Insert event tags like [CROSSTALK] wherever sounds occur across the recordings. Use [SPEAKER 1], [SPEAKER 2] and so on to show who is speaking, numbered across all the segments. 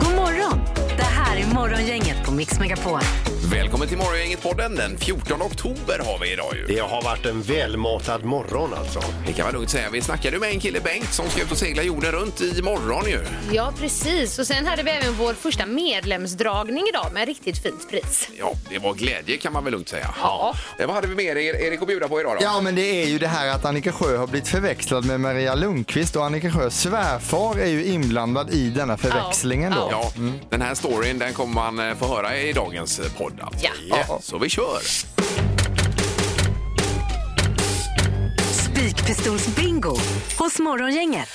[SPEAKER 1] God morgon! Det här är Morgongänget på Mix Megapol.
[SPEAKER 2] Välkommen till Morgongänget-podden. Den 14 oktober har vi idag ju.
[SPEAKER 3] Det har varit en välmatad morgon alltså.
[SPEAKER 2] Det kan man lugnt säga. Vi snackade ju med en kille, Bengt, som ska ut och segla jorden runt i morgon ju.
[SPEAKER 4] Ja, precis. Och sen hade vi även vår första medlemsdragning idag med riktigt fint pris.
[SPEAKER 2] Ja, det var glädje kan man väl lugnt säga.
[SPEAKER 4] Ja.
[SPEAKER 2] Eh, Vad hade vi mer er- Erik att bjuda på idag då?
[SPEAKER 5] Ja men det är ju det här att Annika Sjö har blivit förväxlad med Maria Lundqvist och Annika Sjös svärfar är ju inblandad i denna förväxlingen då.
[SPEAKER 2] Ja, den här storyn den kommer man eh, få höra i dagens eh, podd. Alltså.
[SPEAKER 4] Ja.
[SPEAKER 2] Så vi kör!
[SPEAKER 1] Spikpistolsbingo hos Morgongänget.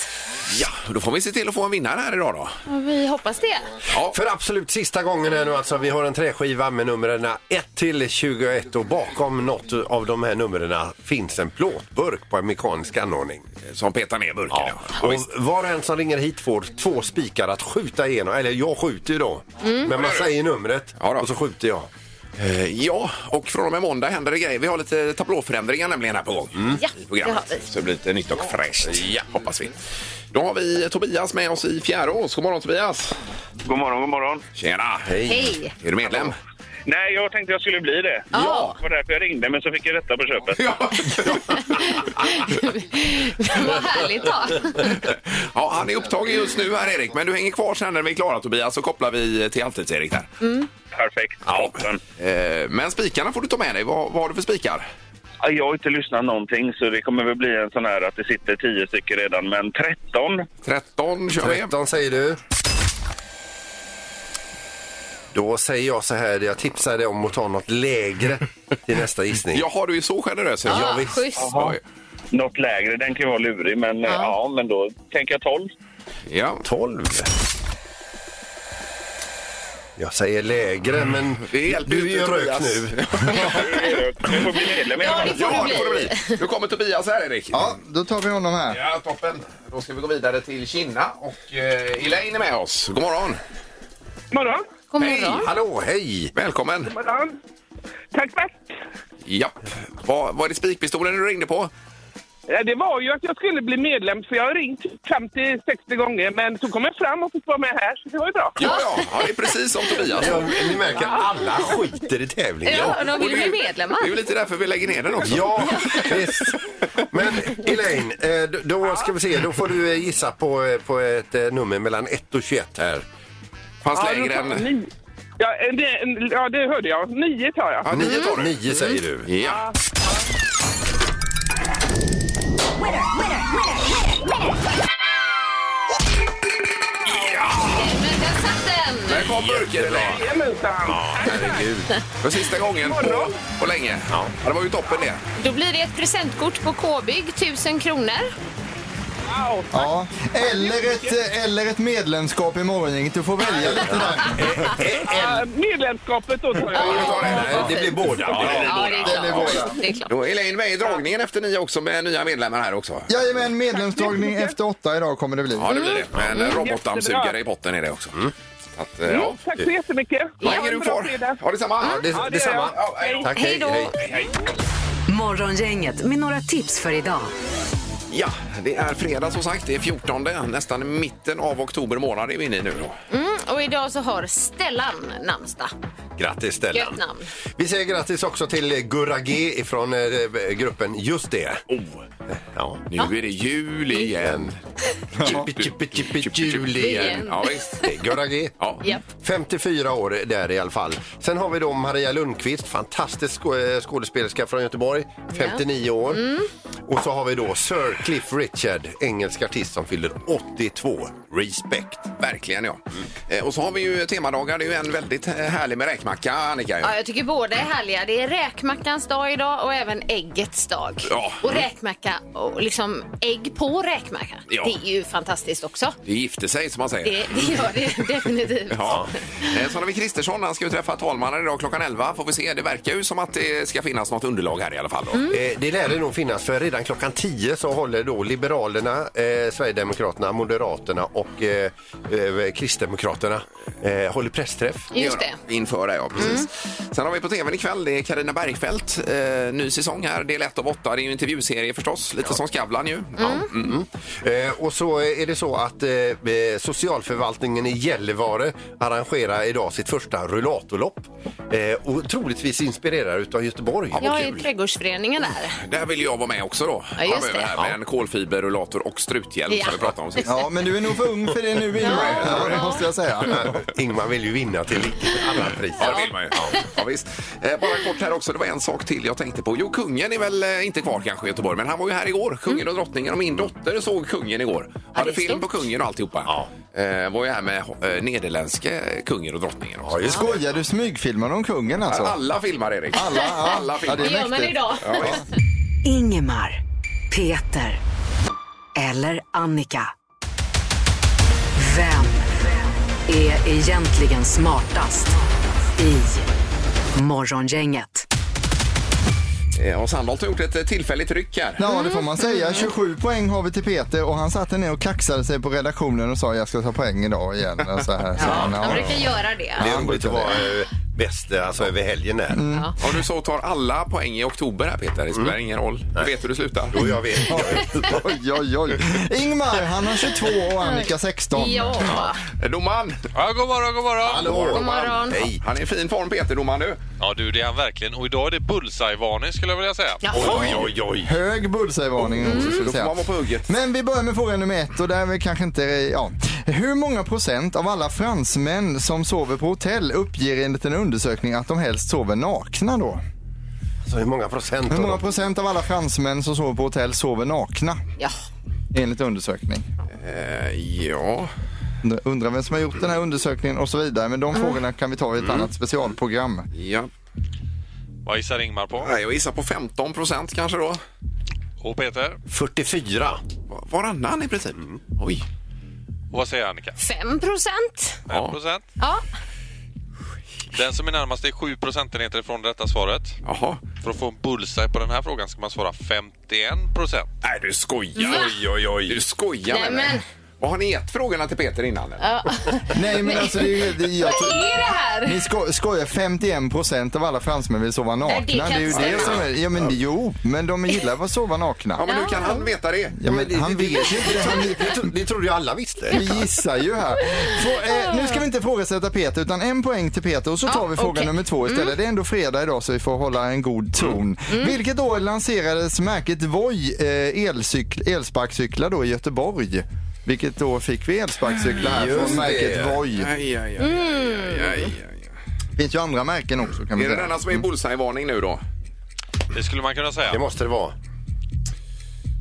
[SPEAKER 2] Ja, då får vi se till att få en vinnare här idag då.
[SPEAKER 4] Och Vi hoppas det.
[SPEAKER 2] Ja,
[SPEAKER 3] För absolut sista gången är nu alltså, vi har en träskiva med numren 1 till 21 och bakom något av de här numren finns en plåtburk på en mekanisk anordning.
[SPEAKER 2] eh, som petar ner burken. Ja. Ja,
[SPEAKER 3] Och
[SPEAKER 2] visst.
[SPEAKER 3] var och en som ringer hit får två spikar att skjuta igenom, eller jag skjuter ju då. Men man säger numret
[SPEAKER 2] Mm. Ja då.
[SPEAKER 3] och så skjuter jag.
[SPEAKER 2] Eh, ja, och från och med måndag händer det grejer. Vi har lite tablåförändringar nämligen här på gång
[SPEAKER 4] Ja,
[SPEAKER 2] i programmet.
[SPEAKER 4] det har vi.
[SPEAKER 2] Så det blir lite nytt och fräscht. Ja, hoppas vi. Då har vi Tobias med oss i Fjärås. God morgon Tobias!
[SPEAKER 6] God morgon, god morgon.
[SPEAKER 2] Tjena! Hej!
[SPEAKER 4] Hej.
[SPEAKER 2] Är du medlem?
[SPEAKER 6] Nej, jag tänkte jag skulle bli det.
[SPEAKER 4] Ja.
[SPEAKER 6] Det var därför jag ringde, men så fick jag detta på köpet.
[SPEAKER 2] Ja.
[SPEAKER 4] [LAUGHS] Vad härligt då.
[SPEAKER 2] [LAUGHS] ja, han är upptagen just nu här Erik, men du hänger kvar sen när vi är klara Tobias så kopplar vi till Halvtids-Erik där.
[SPEAKER 6] Perfekt. Toppen.
[SPEAKER 2] Eh, Men spikarna får du ta med dig. Vad, vad har du för spikar?
[SPEAKER 6] Ja, Jag har inte lyssnat någonting, så det kommer väl bli en sån här att det sitter tio stycken redan, men 13.
[SPEAKER 2] 13 kör vi.
[SPEAKER 3] 13 säger du. Då säger jag så här, jag tipsar dig om att ta något lägre till
[SPEAKER 2] [LAUGHS]
[SPEAKER 3] nästa gissning.
[SPEAKER 2] Jaha, du är så generös. Ja,
[SPEAKER 4] Ja, schysst.
[SPEAKER 2] Oj.
[SPEAKER 6] Något lägre, den kan ju vara lurig, men ja, ja men då tänker jag 12.
[SPEAKER 2] Ja.
[SPEAKER 3] 12. Jag säger lägre, men
[SPEAKER 2] Det hjälper
[SPEAKER 3] du
[SPEAKER 2] ju
[SPEAKER 3] är
[SPEAKER 2] inte,
[SPEAKER 3] rök
[SPEAKER 2] Tobias.
[SPEAKER 3] nu.
[SPEAKER 6] Du får bli medlem i alla fall.
[SPEAKER 4] får du
[SPEAKER 2] Ja, det
[SPEAKER 4] bli.
[SPEAKER 2] får det bli. Nu kommer Tobias här, Erik.
[SPEAKER 5] Ja, då tar vi honom här.
[SPEAKER 2] Ja, toppen. Då ska vi gå vidare till Kina och eh, Elaine är med oss. God morgon!
[SPEAKER 6] morgon.
[SPEAKER 4] God
[SPEAKER 2] Hej!
[SPEAKER 4] morgon.
[SPEAKER 3] Hallå, hej!
[SPEAKER 2] Välkommen!
[SPEAKER 6] morgon. Tack, tack.
[SPEAKER 2] Japp. Vad var det spikpistolen du ringde på?
[SPEAKER 6] Ja, Det var ju att jag skulle bli medlem, för jag har ringt 50-60 gånger, men så kom jag fram och fick vara med här, så det var ju bra.
[SPEAKER 2] Ja, ja, ja det är precis som Tobias.
[SPEAKER 3] Ja, ni märker, alla skiter i tävlingen.
[SPEAKER 4] Ja, de
[SPEAKER 2] Och
[SPEAKER 4] vill
[SPEAKER 2] det är-
[SPEAKER 4] bli medlemmar.
[SPEAKER 2] Det är ju lite därför vi lägger ner den också.
[SPEAKER 3] Ja, visst. Men Elaine, eh, då- då ska vi se, då får du eh, gissa på, eh, på ett eh, nummer mellan 1 och 21 här.
[SPEAKER 2] Fanns
[SPEAKER 6] Ja,
[SPEAKER 2] längre
[SPEAKER 6] då tar-
[SPEAKER 2] än...
[SPEAKER 6] ni- Ja, eh, det, ja, det hörde jag. Nio tar jag.
[SPEAKER 2] Ja, nio tar du.
[SPEAKER 3] 9 säger du.
[SPEAKER 2] Ja.
[SPEAKER 4] Men där satt den.
[SPEAKER 2] Där kom burken, Elaine.
[SPEAKER 6] Jajamensan!
[SPEAKER 2] Herregud. För sista gången på,
[SPEAKER 6] Morgon.
[SPEAKER 2] på länge. Ja, det var ju toppen det.
[SPEAKER 4] Då blir det ett presentkort på K-bygg, 1000 kronor.
[SPEAKER 6] Wow.
[SPEAKER 5] Ja. Eller, ett, eh, eller ett medlemskap i morgongänget. Du får välja lite [LAUGHS] där.
[SPEAKER 6] Ja, medlemskapet då tar jag.
[SPEAKER 2] Ja,
[SPEAKER 3] Nej, det blir båda.
[SPEAKER 4] Ja, det är klart. Det är klart.
[SPEAKER 2] Då är Elaine med i dragningen efter nio också med nya medlemmar här också.
[SPEAKER 5] Jajamän, medlemstagning efter åtta idag kommer det bli.
[SPEAKER 2] Ja, det blir det. Men en robotdammsugare
[SPEAKER 6] Jättebra.
[SPEAKER 2] i botten är det också. Så att, eh, ja.
[SPEAKER 6] Mm, Tack så jättemycket.
[SPEAKER 2] Då
[SPEAKER 6] Ha
[SPEAKER 2] hänger
[SPEAKER 6] en
[SPEAKER 2] du
[SPEAKER 6] bra
[SPEAKER 2] kvar.
[SPEAKER 6] fredag.
[SPEAKER 2] Ja, detsamma.
[SPEAKER 3] Ja, det,
[SPEAKER 6] Ja, det
[SPEAKER 3] detsamma.
[SPEAKER 6] gör jag.
[SPEAKER 2] Hej.
[SPEAKER 3] Tack,
[SPEAKER 4] Hej då.
[SPEAKER 1] Morgongänget med några tips för idag.
[SPEAKER 2] Ja, det är fredag som sagt. Det är 14, nästan mitten av oktober månad är vi inne i nu då.
[SPEAKER 4] Mm, och idag så har Stellan namnsdag.
[SPEAKER 3] Grattis
[SPEAKER 4] Gött
[SPEAKER 3] Stellan.
[SPEAKER 4] namn.
[SPEAKER 3] Vi säger grattis också till eh, Gurra G ifrån eh, gruppen Just det.
[SPEAKER 2] Oh,
[SPEAKER 3] Ja.
[SPEAKER 2] nu är det jul igen.
[SPEAKER 3] Chippi, chippi, chippi, jul igen.
[SPEAKER 2] Ja, visst.
[SPEAKER 3] Det är Eh, Gurra G.
[SPEAKER 2] Ja.
[SPEAKER 4] Japp.
[SPEAKER 3] 54 år där i alla fall. Sen har vi då Maria Lundqvist, fantastisk sko- eh, skådespelerska från Göteborg, 59 år. Och så har vi då Sir Cliff Richard, engelsk artist som fyller 82. Respect.
[SPEAKER 2] Verkligen, ja. Eh, Och så har vi ju temadagar. Det är ju en väldigt eh, härlig med räkmacka, Annika. ju.
[SPEAKER 4] Ja, jag tycker båda är härliga. Det är räkmackans dag idag och även äggets dag.
[SPEAKER 2] Ja.
[SPEAKER 4] Och räkmacka och liksom ägg på räkmacka.
[SPEAKER 2] Ja.
[SPEAKER 4] Det är ju fantastiskt också.
[SPEAKER 2] Det gifter sig, som man säger.
[SPEAKER 4] Det, det gör det [LAUGHS] definitivt.
[SPEAKER 2] Ja. Eh, Sen har vi Kristersson. Han ska ju träffa talmannen idag klockan 11. Får vi se. Det verkar ju som att det ska finnas något underlag här i alla fall. Då.
[SPEAKER 3] Eh, Det lär det nog finnas för redan klockan 10 så håller då Liberalerna, eh, Sverigedemokraterna, Moderaterna och eh, eh, Kristdemokraterna eh, håller pressträff.
[SPEAKER 4] Just
[SPEAKER 2] Gör de.
[SPEAKER 4] det. Mm.
[SPEAKER 2] Inför det, ja. Precis. Sen har vi på tvn ikväll, det är Carina Bergfeldt. Eh, ny säsong här, del 1 av 8. Det är ju en intervjuserie förstås, lite som Skavlan ju. Ja. Mm.
[SPEAKER 3] Eh, och så är det så att eh, eh, socialförvaltningen i Gällivare arrangerar idag sitt första rullatorlopp. Eh, och troligtvis inspirerad utav Göteborg.
[SPEAKER 2] Ja, vad
[SPEAKER 4] Jag är i
[SPEAKER 2] kul.
[SPEAKER 4] trädgårdsföreningen där.
[SPEAKER 2] Där vill jag vara med också då.
[SPEAKER 4] Ja, just
[SPEAKER 2] Framöver
[SPEAKER 4] det.
[SPEAKER 2] Här med en kolfiberrullator och struthjälm
[SPEAKER 4] Ja.
[SPEAKER 2] som vi pratade om sist.
[SPEAKER 5] Ja, men du är nog för ung för det nu, Ingmar.
[SPEAKER 4] Ja.
[SPEAKER 5] Det måste jag säga.
[SPEAKER 3] Eh, Ingmar vill ju vinna till vilket annat pris.
[SPEAKER 2] Ja, det vill man ju. Ja. Ja, visst. Eh, bara kort här också, det var en sak till jag tänkte på. Jo, kungen är väl eh, inte kvar kanske i Göteborg, men han var ju här igår. Kungen
[SPEAKER 4] Mm.
[SPEAKER 2] och drottningen och min dotter såg kungen igår. Hade
[SPEAKER 4] är
[SPEAKER 2] film
[SPEAKER 4] stort.
[SPEAKER 2] på kungen och alltihopa. Eh, var ju här med eh, nederländske kungen och drottningen också.
[SPEAKER 5] Du skojar, du smygfilmar om kungen alltså?
[SPEAKER 2] Alla filmar, Erik.
[SPEAKER 5] Alla, ja.
[SPEAKER 2] Alla
[SPEAKER 5] ja, det
[SPEAKER 2] filmar.
[SPEAKER 4] Det
[SPEAKER 5] är
[SPEAKER 4] gör man
[SPEAKER 5] mäktigt.
[SPEAKER 4] idag.
[SPEAKER 2] Ja, visst.
[SPEAKER 1] Ingemar, Peter eller Annika. Vem är egentligen smartast i Morgongänget?
[SPEAKER 2] Eh, Och Sandholt har gjort ett eh, tillfälligt ryck här.
[SPEAKER 5] Ja, det får man säga. 27 poäng har vi till Peter och han satte ner och kaxade sig på redaktionen och sa jag ska ta poäng idag igen. Och Så här, så han,
[SPEAKER 4] Man
[SPEAKER 5] ja.
[SPEAKER 4] brukar göra det.
[SPEAKER 3] Det är roligt att vara eh, bäst eh, alltså, över helgen där.
[SPEAKER 5] Mm.
[SPEAKER 2] Om du så tar alla poäng i oktober här Peter, det spelar ingen roll. Du vet hur det slutar.
[SPEAKER 3] Och jag vet. Jag
[SPEAKER 5] [LAUGHS]
[SPEAKER 3] vet.
[SPEAKER 5] Oj, oj, oj. Ingmar, han har 22 och Annika 16.
[SPEAKER 4] Ja,
[SPEAKER 2] Eh, Domaren!
[SPEAKER 7] Ja, god morgon, god morgon.
[SPEAKER 3] Hallå!
[SPEAKER 4] God morgon.
[SPEAKER 3] Hej!
[SPEAKER 2] Han är i fin form Peter, domaren du.
[SPEAKER 7] Ja, du, det är han verkligen. Och idag är det bullseye-varning skulle jag vilja säga.
[SPEAKER 3] Oj, oj, oj!
[SPEAKER 5] Hög bullseye-varning också ska vi
[SPEAKER 2] Mm. Då får
[SPEAKER 5] säga.
[SPEAKER 2] man vara på hugget.
[SPEAKER 5] Mm. Men vi börjar med fråga nummer ett och där är vi kanske inte, ja. Hur många procent av alla fransmän som sover på hotell uppger enligt en undersökning att de helst sover nakna då?
[SPEAKER 3] Så hur många procent?
[SPEAKER 5] Hur
[SPEAKER 3] av
[SPEAKER 5] många
[SPEAKER 3] dem?
[SPEAKER 5] procent av alla fransmän som sover på hotell sover nakna
[SPEAKER 4] ja.
[SPEAKER 5] enligt undersökning?
[SPEAKER 2] Eh, ja...
[SPEAKER 5] Undrar vem som har gjort den här undersökningen och så vidare. Men de frågorna kan vi ta i ett annat specialprogram.
[SPEAKER 2] ja.
[SPEAKER 7] Vad gissar Ingmar på?
[SPEAKER 2] Nej, Jag gissar på 15 procent kanske då.
[SPEAKER 7] Och Peter?
[SPEAKER 3] 44.
[SPEAKER 2] Var- Varannan i princip. Oj.
[SPEAKER 7] Och vad säger Annika?
[SPEAKER 4] 5 procent.
[SPEAKER 7] 5 procent.
[SPEAKER 4] Ja.
[SPEAKER 7] Den som är närmast är 7 procentenheter ifrån det rätta svaret.
[SPEAKER 2] Jaha.
[SPEAKER 7] För att få en bullseye på den här frågan ska man svara 51 procent.
[SPEAKER 2] Nej, du skojar.
[SPEAKER 4] Va?
[SPEAKER 2] Oj, oj, oj. Du skojar
[SPEAKER 4] Nej,
[SPEAKER 2] med mig.
[SPEAKER 4] men-
[SPEAKER 2] Och har ni gett frågorna till Peter innan? eller?
[SPEAKER 5] Nej men alltså det är ju... det är- jag
[SPEAKER 4] Vad
[SPEAKER 5] tror-
[SPEAKER 4] är det här?
[SPEAKER 5] Ni sko skojar, 51 procent av alla fransmän vill sova nakna.
[SPEAKER 4] Nej, det
[SPEAKER 5] Det,
[SPEAKER 4] kan
[SPEAKER 5] är ju
[SPEAKER 4] inte
[SPEAKER 5] det som
[SPEAKER 4] stämma.
[SPEAKER 5] är... Ja, men, jo, men de gillar att sova
[SPEAKER 2] Ja,
[SPEAKER 5] nakna.
[SPEAKER 2] men hur kan han veta det?
[SPEAKER 5] Ja, men, han vet ju inte. Han,
[SPEAKER 3] Det, tro- det trodde ju alla visste.
[SPEAKER 5] vi gissar ju här. Få, eh, nu ska vi inte ifrågasätta Peter utan en poäng till Peter och så tar
[SPEAKER 4] Ah. Ja,
[SPEAKER 5] vi fråga
[SPEAKER 4] okej. Mm.
[SPEAKER 5] nummer två istället. Det är ändå fredag idag så vi får hålla en god ton. Vilket år lanserades märket Voi eh, elcyk- elsparkcyklar då i Göteborg? Vilket år fick vi elsparkcyklar här
[SPEAKER 3] Just
[SPEAKER 5] från märket
[SPEAKER 3] det.
[SPEAKER 5] Voi?
[SPEAKER 2] Aj, aj, aj, aj, aj, aj, aj.
[SPEAKER 5] Det finns ju andra märken också kan vi
[SPEAKER 2] Är det
[SPEAKER 5] säga.
[SPEAKER 2] denna som är bullseye-varning nu då?
[SPEAKER 7] Det skulle man kunna
[SPEAKER 3] Det
[SPEAKER 7] säga.
[SPEAKER 3] måste det vara.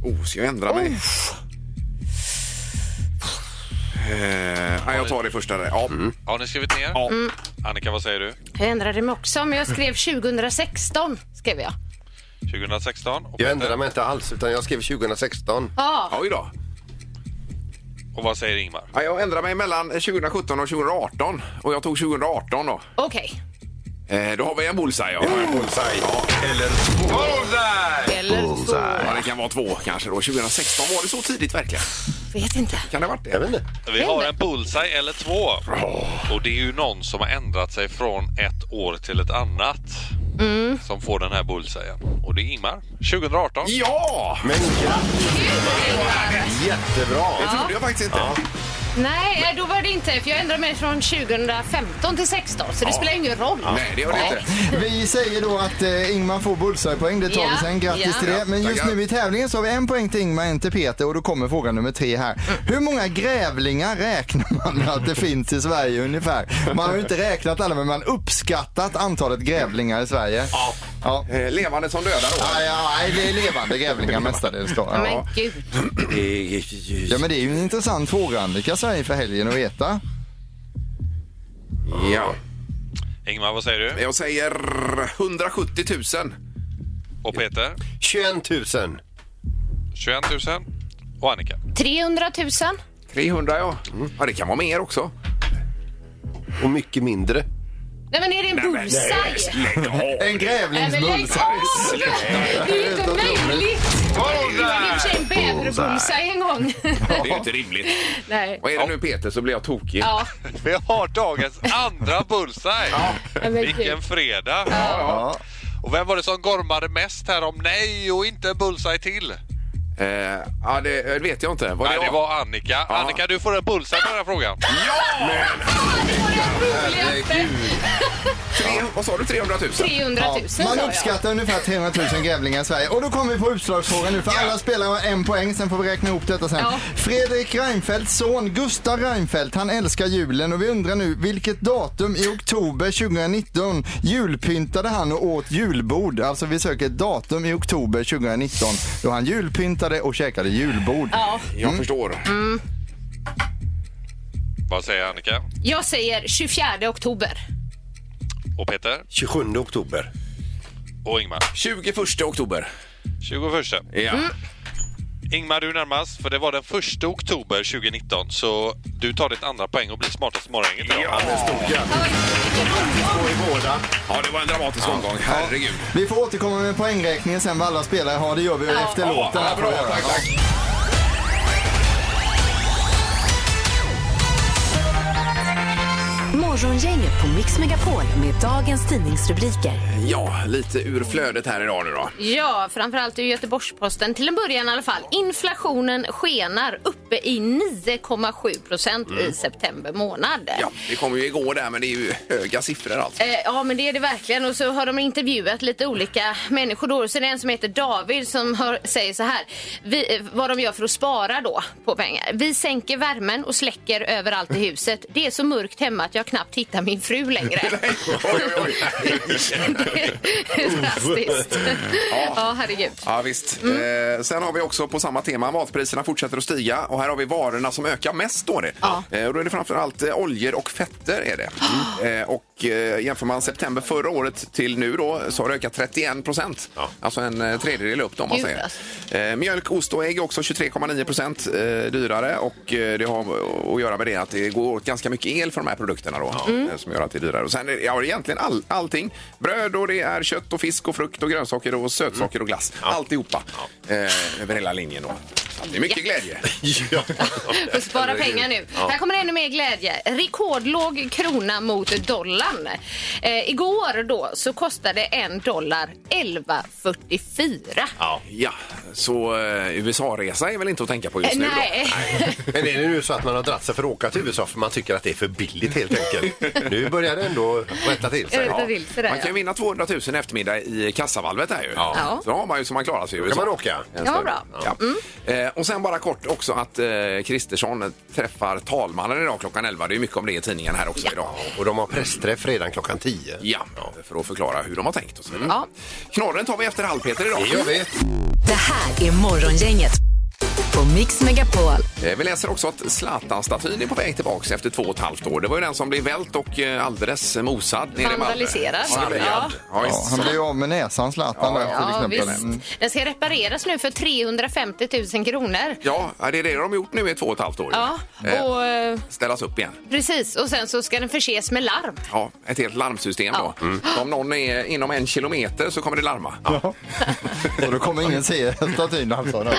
[SPEAKER 2] Oh, ska jag ändra mig? Eh, nej, jag tar det första där. Ja.
[SPEAKER 5] Mm.
[SPEAKER 7] Har ni skrivit ner?
[SPEAKER 2] Ja.
[SPEAKER 7] Annika, vad säger du?
[SPEAKER 4] Jag ändrade mig också, men jag skrev 2016. Skrev jag.
[SPEAKER 7] 2016? Och,
[SPEAKER 3] Jag
[SPEAKER 7] Peter?
[SPEAKER 3] ändrade mig inte alls utan jag skrev 2016.
[SPEAKER 4] Ja.
[SPEAKER 2] Oj då.
[SPEAKER 7] och vad säger Ingmar?
[SPEAKER 2] Ja, jag ändrar mig mellan 2017 och 2018 och jag tog 2018 då.
[SPEAKER 4] Okej.
[SPEAKER 2] Eh, då har vi en bullseye. Ja.
[SPEAKER 3] Bullseye. Eller två.
[SPEAKER 4] Eller så...
[SPEAKER 2] Ja, det kan vara två kanske då. 2016, var det så tidigt verkligen?
[SPEAKER 4] Vet inte.
[SPEAKER 2] Kan det ha varit det?
[SPEAKER 3] Jag vet inte.
[SPEAKER 7] Vi har en bullseye eller två. Och det är ju någon som har ändrat sig från ett år till ett annat.
[SPEAKER 2] Mm.
[SPEAKER 7] Som får den här bullseyen. Och det är Ingmar. 2018.
[SPEAKER 2] Ja!
[SPEAKER 3] Men grattis! Jättebra!
[SPEAKER 2] Det trodde jag faktiskt inte.
[SPEAKER 4] Nej, eh, då var det inte. För jag ändrade mig från 2015 till 16, så det spelar ingen roll.
[SPEAKER 2] Nej, det gör det inte.
[SPEAKER 5] Vi säger då att eh, Ingmar får bullseye-poäng, det tar
[SPEAKER 4] Ja,
[SPEAKER 5] vi sen. Grattis
[SPEAKER 4] ja.
[SPEAKER 5] till det. Men just
[SPEAKER 2] Tackar.
[SPEAKER 5] nu i tävlingen så har vi en poäng till Ingmar, en till Peter och då kommer fråga nummer tre här. Hur många grävlingar räknar man att det finns i Sverige ungefär? Man har ju inte räknat alla men man har uppskattat antalet grävlingar i Sverige. Ja.
[SPEAKER 2] Eh, levande som döda då.
[SPEAKER 5] Nej, ja, nej, det är levande grävlingar mestadels. Då.
[SPEAKER 4] Ja.
[SPEAKER 5] Ja.
[SPEAKER 4] Men gud.
[SPEAKER 5] ja, men det är ju en intressant fråga Annika så här inför helgen att veta.
[SPEAKER 2] Ja.
[SPEAKER 7] Ingmar, vad säger du?
[SPEAKER 2] Jag säger 170 000.
[SPEAKER 7] Och Peter?
[SPEAKER 3] 21 000.
[SPEAKER 7] 21 000. Och Annika?
[SPEAKER 4] 300 000.
[SPEAKER 2] 300 ja. Mm. Ja, det kan vara mer också.
[SPEAKER 3] Och mycket mindre.
[SPEAKER 4] Nej men är det en bullseye?
[SPEAKER 2] Lägg
[SPEAKER 5] En
[SPEAKER 2] av.
[SPEAKER 4] Nej men lägg
[SPEAKER 5] grävlingsbulle.
[SPEAKER 4] av! Det är ju inte möjligt! Det var i och för sig en bäverbullseye en gång.
[SPEAKER 2] Det är ju inte rimligt.
[SPEAKER 4] Nej.
[SPEAKER 2] Vad är det nu Peter så blir jag tokig.
[SPEAKER 4] Ja,
[SPEAKER 7] Vi har dagens andra bullseye.
[SPEAKER 4] men gud.
[SPEAKER 7] Vilken fredag! Och vem var det som gormade mest här om nej och inte en bullseye till?
[SPEAKER 2] Eh, ja, det eh, vet jag inte. Var
[SPEAKER 7] Nej, det
[SPEAKER 2] jag?
[SPEAKER 7] var Annika. Annika, du får en bullseye på den här frågan.
[SPEAKER 2] Tre, vad sa du? 300 000?
[SPEAKER 4] 300 000 sa
[SPEAKER 5] Man
[SPEAKER 4] jag.
[SPEAKER 5] uppskattar ungefär 300 000 grävlingar i Sverige. Och då kommer vi på utslagsfrågan nu för alla spelar har en poäng, sen får vi räkna ihop detta sen.
[SPEAKER 4] Ja.
[SPEAKER 5] Fredrik Reinfeldts son Gustav Reinfeldt, han älskar julen och vi undrar nu vilket datum i oktober 2019 julpyntade han och åt julbord? Alltså vi söker ett datum i oktober 2019 då han julpyntade och käkade julbord.
[SPEAKER 2] Jag förstår.
[SPEAKER 7] Mm. Vad säger Annika?
[SPEAKER 4] Jag säger 24 oktober.
[SPEAKER 7] Och Peter?
[SPEAKER 3] 27 oktober.
[SPEAKER 7] Och Ingmar?
[SPEAKER 2] 21 oktober.
[SPEAKER 7] 21.
[SPEAKER 2] Ja.
[SPEAKER 7] Ingmar, du är närmast, för det var den 1 oktober 2019. Så du tar ditt andra poäng och blir smartast i morgongänget idag.
[SPEAKER 2] ja, det var en dramatisk omgång. Herregud.
[SPEAKER 5] Vi får återkomma med poängräkningen sen vad alla spelare har. Det gör vi efter låten.
[SPEAKER 2] Ja,
[SPEAKER 5] här
[SPEAKER 2] bra,
[SPEAKER 5] får vi göra.
[SPEAKER 2] tack, tack.
[SPEAKER 1] Morgongänget på Mix Megapol med dagens tidningsrubriker.
[SPEAKER 2] Ja, lite ur flödet här idag nu då.
[SPEAKER 4] Ja, framförallt ur Göteborgs-Posten till en början i alla fall. Inflationen skenar uppe i 9,7 procent i september månad.
[SPEAKER 2] Ja, det kom ju igår där, men det är ju höga siffror alltså.
[SPEAKER 4] Eh, Ja men det är det verkligen och så har de intervjuat lite olika människor då. Så det är en som heter David som hör, säger så här. Vi, eh, vad de gör för att spara då på pengar. Vi sänker värmen och släcker överallt i huset. Det är så mörkt hemma att jag knappt hittar min fru längre.
[SPEAKER 2] Oj, oj, [LAUGHS] oj.
[SPEAKER 4] det är drastiskt. ja. herregud.
[SPEAKER 2] Ja, visst. Eh, sen har vi också på samma tema, matpriserna fortsätter att stiga och här har vi varorna som ökar mest står det.
[SPEAKER 4] Ja.
[SPEAKER 2] Eh, och då är det framförallt eh, oljor och fetter är [GASPS] det. Eh, och eh, jämför man september förra året till nu då så har det ökat 31 procent. Alltså en eh, tredjedel upp då om man
[SPEAKER 4] Gud,
[SPEAKER 2] säger. Eh, mjölk, ost och ägg också 23,9 procent eh, dyrare och eh, det har att göra med det att det går åt ganska mycket el för de här produkterna då eh, som gör att det är dyrare. Och sen är det- ja, det är egentligen all, allting. Bröd och det är kött och fisk och frukt och grönsaker och sötsaker och glass. Alltihopa eh, över hela linjen då. Så Det är mycket glädje.
[SPEAKER 4] Får spara pengar nu. Här kommer ännu mer glädje. Rekordlåg krona mot dollarn. Eh, igår då så kostade en dollar 11,44.
[SPEAKER 2] Ja, så eh, USA-resa är väl inte att tänka på just nu då?
[SPEAKER 4] Eh, Nej.
[SPEAKER 3] [LAUGHS] Men är det nu så att man har dratt sig för att åka till USA för man tycker att det är för billigt helt enkelt? Nu börjar det ändå rätta till
[SPEAKER 4] [LAUGHS]
[SPEAKER 3] sig.
[SPEAKER 4] Rätta till sig där,
[SPEAKER 2] Man kan ju
[SPEAKER 4] ja.
[SPEAKER 2] vinna 200 000 i eftermiddag i kassavalvet här ju.
[SPEAKER 4] Ja.
[SPEAKER 2] Så då har man ju så man klarar sig i
[SPEAKER 3] Då
[SPEAKER 2] USA.
[SPEAKER 3] kan man åka.
[SPEAKER 2] En
[SPEAKER 4] Ja, Mm.
[SPEAKER 2] stund.
[SPEAKER 4] bra.
[SPEAKER 2] Ja. Eh, och sen bara kort också att eh, Kristersson träffar talmannen idag klockan 11. Det är mycket om det i tidningen här också idag.
[SPEAKER 3] Och de har pressträff redan klockan 10.
[SPEAKER 2] Ja, för att förklara hur de har tänkt och så vidare.
[SPEAKER 4] Ja.
[SPEAKER 2] Knorren tar vi efter halv Peter idag.
[SPEAKER 3] Det gör vi.
[SPEAKER 1] Det här är Morgongänget på Mix Megapol.
[SPEAKER 2] Eh, Vi läser också att Zlatan-statyn är på väg tillbaka efter två och ett halvt år. Det var ju den som blev vält och eh, alldeles mosad nere i Malmö.
[SPEAKER 4] Vandaliserad.
[SPEAKER 2] Sargad.
[SPEAKER 4] Ja.
[SPEAKER 2] Ja,
[SPEAKER 5] Ja,
[SPEAKER 2] visst.
[SPEAKER 5] han blev ju av med näsan Zlatan där
[SPEAKER 4] Ja,
[SPEAKER 5] till exempel. Mm.
[SPEAKER 4] visst. Den ska repareras nu för 350 000 kronor.
[SPEAKER 2] ja, det är det de har gjort nu i två och ett halvt år.
[SPEAKER 4] Ja,
[SPEAKER 2] Eh,
[SPEAKER 4] och, eh,
[SPEAKER 2] Ställas upp igen.
[SPEAKER 4] precis. Och sen så ska den förses med larm.
[SPEAKER 2] Ja, ett helt larmsystem
[SPEAKER 4] Ja.
[SPEAKER 2] då. Mm. Om någon är inom en kilometer så kommer det larma.
[SPEAKER 5] Och då kommer ingen se statyn alltså. då.
[SPEAKER 2] Nej.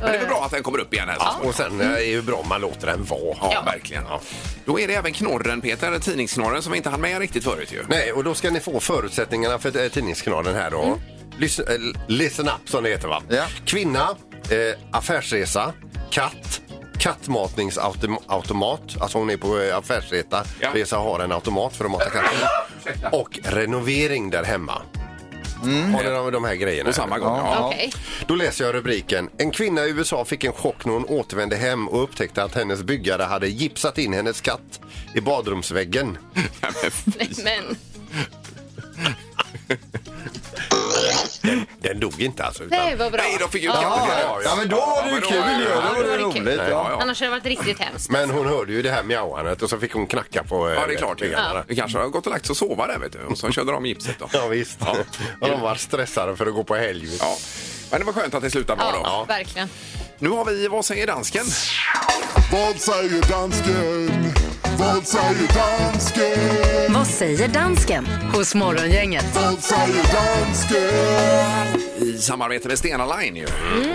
[SPEAKER 2] Men det är väl bra att den kommer upp igen här. så
[SPEAKER 3] Och sen eh, är ju bra om man låter den vara.
[SPEAKER 2] Ja, verkligen. Då är det även knorren, Peter, tidningsknorren som vi inte hann med riktigt förut ju.
[SPEAKER 3] Nej, och då ska ni få förutsättningarna för eh, tidningskanalen här då. Listen, eh, listen up som det heter va?
[SPEAKER 5] Ja.
[SPEAKER 3] Kvinna, eh, affärsresa, katt, kattmatningsautomat. Alltså hon är på eh, affärsresa
[SPEAKER 2] Ja.
[SPEAKER 3] resa och har en automat för att mata katten. och renovering där hemma. Har ni de, de här grejerna?
[SPEAKER 2] På samma gång. Ja. [LAUGHS]
[SPEAKER 5] Ja.
[SPEAKER 4] Okej.
[SPEAKER 3] Då läser jag rubriken. En kvinna i USA fick en chock när hon återvände hem och upptäckte att hennes byggare hade gipsat in hennes katt
[SPEAKER 4] [LAUGHS]
[SPEAKER 3] i badrumsväggen.
[SPEAKER 4] Men
[SPEAKER 3] Den, den dog inte alltså. Utan,
[SPEAKER 4] Nej, vad bra.
[SPEAKER 2] Nej, de fick ju
[SPEAKER 4] Ja.
[SPEAKER 2] katter.
[SPEAKER 5] Ja, ja, men då var det ju
[SPEAKER 2] men
[SPEAKER 5] kul
[SPEAKER 2] var
[SPEAKER 5] ju.
[SPEAKER 2] det-
[SPEAKER 5] Då var det
[SPEAKER 2] ja,
[SPEAKER 4] roligt,
[SPEAKER 2] kul.
[SPEAKER 4] ja.
[SPEAKER 2] Ja, ja.
[SPEAKER 4] Annars hade det varit riktigt hemskt.
[SPEAKER 3] Men hon hörde ju det här mjauandet och så fick hon knacka på eh,
[SPEAKER 2] Ja, det är klart.
[SPEAKER 3] fingrarna.
[SPEAKER 2] Ja. Vi kanske har gått och lagt sig och sova där, vet du. Och så körde de gipset då.
[SPEAKER 3] Ja, visst. Och [LAUGHS] de var stressade för att gå på helg.
[SPEAKER 2] Ja. Men det var skönt att det slutade bra
[SPEAKER 4] Ja,
[SPEAKER 2] då.
[SPEAKER 4] verkligen.
[SPEAKER 2] Nu har vi Vad säger dansken?
[SPEAKER 8] Vad säger dansken? Vad säger dansken?
[SPEAKER 1] Vad säger dansken hos Morgongänget?
[SPEAKER 8] Vad säger dansken?
[SPEAKER 2] I samarbete med Stena Line ju.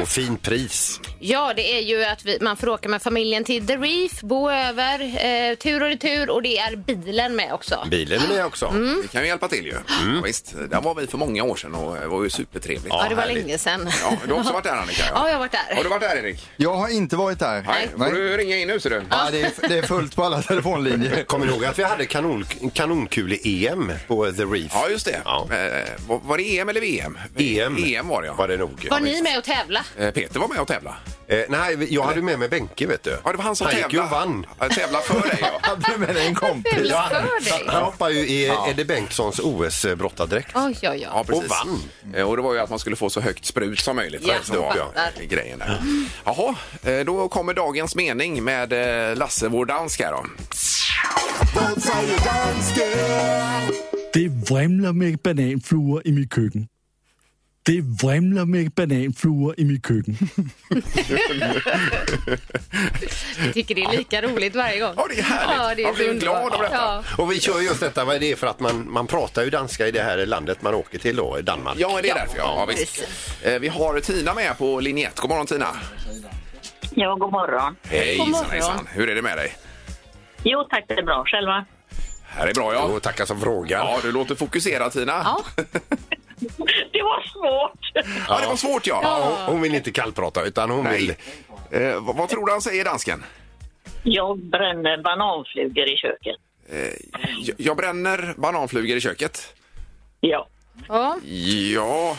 [SPEAKER 3] Och fin pris.
[SPEAKER 4] Ja, det är ju att vi, man får åka med familjen till The Reef, bo över, eh, tur och retur och det är bilen med också.
[SPEAKER 3] Bilen är med också.
[SPEAKER 2] Vi kan ju hjälpa till ju. Ja, visst, där var vi för många år sedan och det var ju supertrevligt.
[SPEAKER 4] Ja, det var
[SPEAKER 3] härligt.
[SPEAKER 4] länge sedan.
[SPEAKER 2] Ja, du har också varit där Annika?
[SPEAKER 4] Ja, jag har varit där.
[SPEAKER 2] Har du varit där Erik?
[SPEAKER 5] Jag har inte varit där.
[SPEAKER 2] Får du ringa in nu ser du.
[SPEAKER 5] Ja, det, är, det är fullt på alla
[SPEAKER 2] Mm.
[SPEAKER 5] telefonlinjer.
[SPEAKER 3] Kommer ni ihåg att vi hade kanon, kanonkule-EM på The Reef?
[SPEAKER 2] Ja, just det.
[SPEAKER 3] Ja.
[SPEAKER 2] Eh, var, var det EM eller VM?
[SPEAKER 3] EM.
[SPEAKER 2] EM var det ja.
[SPEAKER 3] Var det nog.
[SPEAKER 4] Var ni med och tävla?
[SPEAKER 2] Eh, Peter var med och tävlade.
[SPEAKER 3] Eh, nej, jag hade med mig Benke vet du.
[SPEAKER 2] Ja, det var han som
[SPEAKER 3] han gick ju
[SPEAKER 2] tävlade.
[SPEAKER 3] och vann.
[SPEAKER 2] Ja, tävlade för dig ja.
[SPEAKER 5] Jag hade med dig en kompis.
[SPEAKER 4] Tävla för dig?
[SPEAKER 3] Han hoppar ju i Eddie Bengtssons OS-brottardräkt.
[SPEAKER 4] Oj, oj, oj.
[SPEAKER 2] precis.
[SPEAKER 3] Och [LAUGHS] vann.
[SPEAKER 2] Eh, Och det var ju att man skulle få så högt sprut som möjligt.
[SPEAKER 4] Ja,
[SPEAKER 2] det var
[SPEAKER 4] fattar.
[SPEAKER 2] eh, grejen där. Jaha, eh, då kommer dagens mening med eh, Lasse, vår dansk här då.
[SPEAKER 8] Vad säger dansken?
[SPEAKER 6] Det vrimler med bananfluor i mitt köken. Det vrimler med bananfluor i mitt
[SPEAKER 5] [LAUGHS]
[SPEAKER 6] köken.
[SPEAKER 4] Jag tycker det är lika roligt varje gång.
[SPEAKER 2] Ja, det är härligt.
[SPEAKER 4] Ja, det är
[SPEAKER 2] Jag blir
[SPEAKER 4] så underbart.
[SPEAKER 2] glad av detta.
[SPEAKER 4] Ja.
[SPEAKER 3] Och vi kör just detta, vad är det för att man, man pratar ju danska i det här landet man åker till då, i Danmark.
[SPEAKER 2] Ja, det är därför. Ja, ja, visst. Eh, Vi har Tina med på linje 1. God morgon Tina!
[SPEAKER 6] Ja, god morgon.
[SPEAKER 2] Hej,
[SPEAKER 4] God morgon.
[SPEAKER 2] hejsan. Hur är det med dig?
[SPEAKER 6] Jo tack, det är bra. Själva?
[SPEAKER 2] Här är bra ja.
[SPEAKER 3] Och tackar som frågar.
[SPEAKER 2] Ja, du låter fokuserad Tina.
[SPEAKER 4] Ja.
[SPEAKER 2] [LAUGHS]
[SPEAKER 6] Det var svårt.
[SPEAKER 2] Ja, det var svårt ja.
[SPEAKER 3] Ja, hon, hon vill inte kallprata utan hon vill...
[SPEAKER 2] Nej. Eh, vad, vad tror du han säger dansken?
[SPEAKER 6] Jag bränner bananflugor i köket.
[SPEAKER 2] Eh, Jag, jag bränner bananflugor i köket.
[SPEAKER 6] Ja.
[SPEAKER 4] Ja.
[SPEAKER 2] Ja,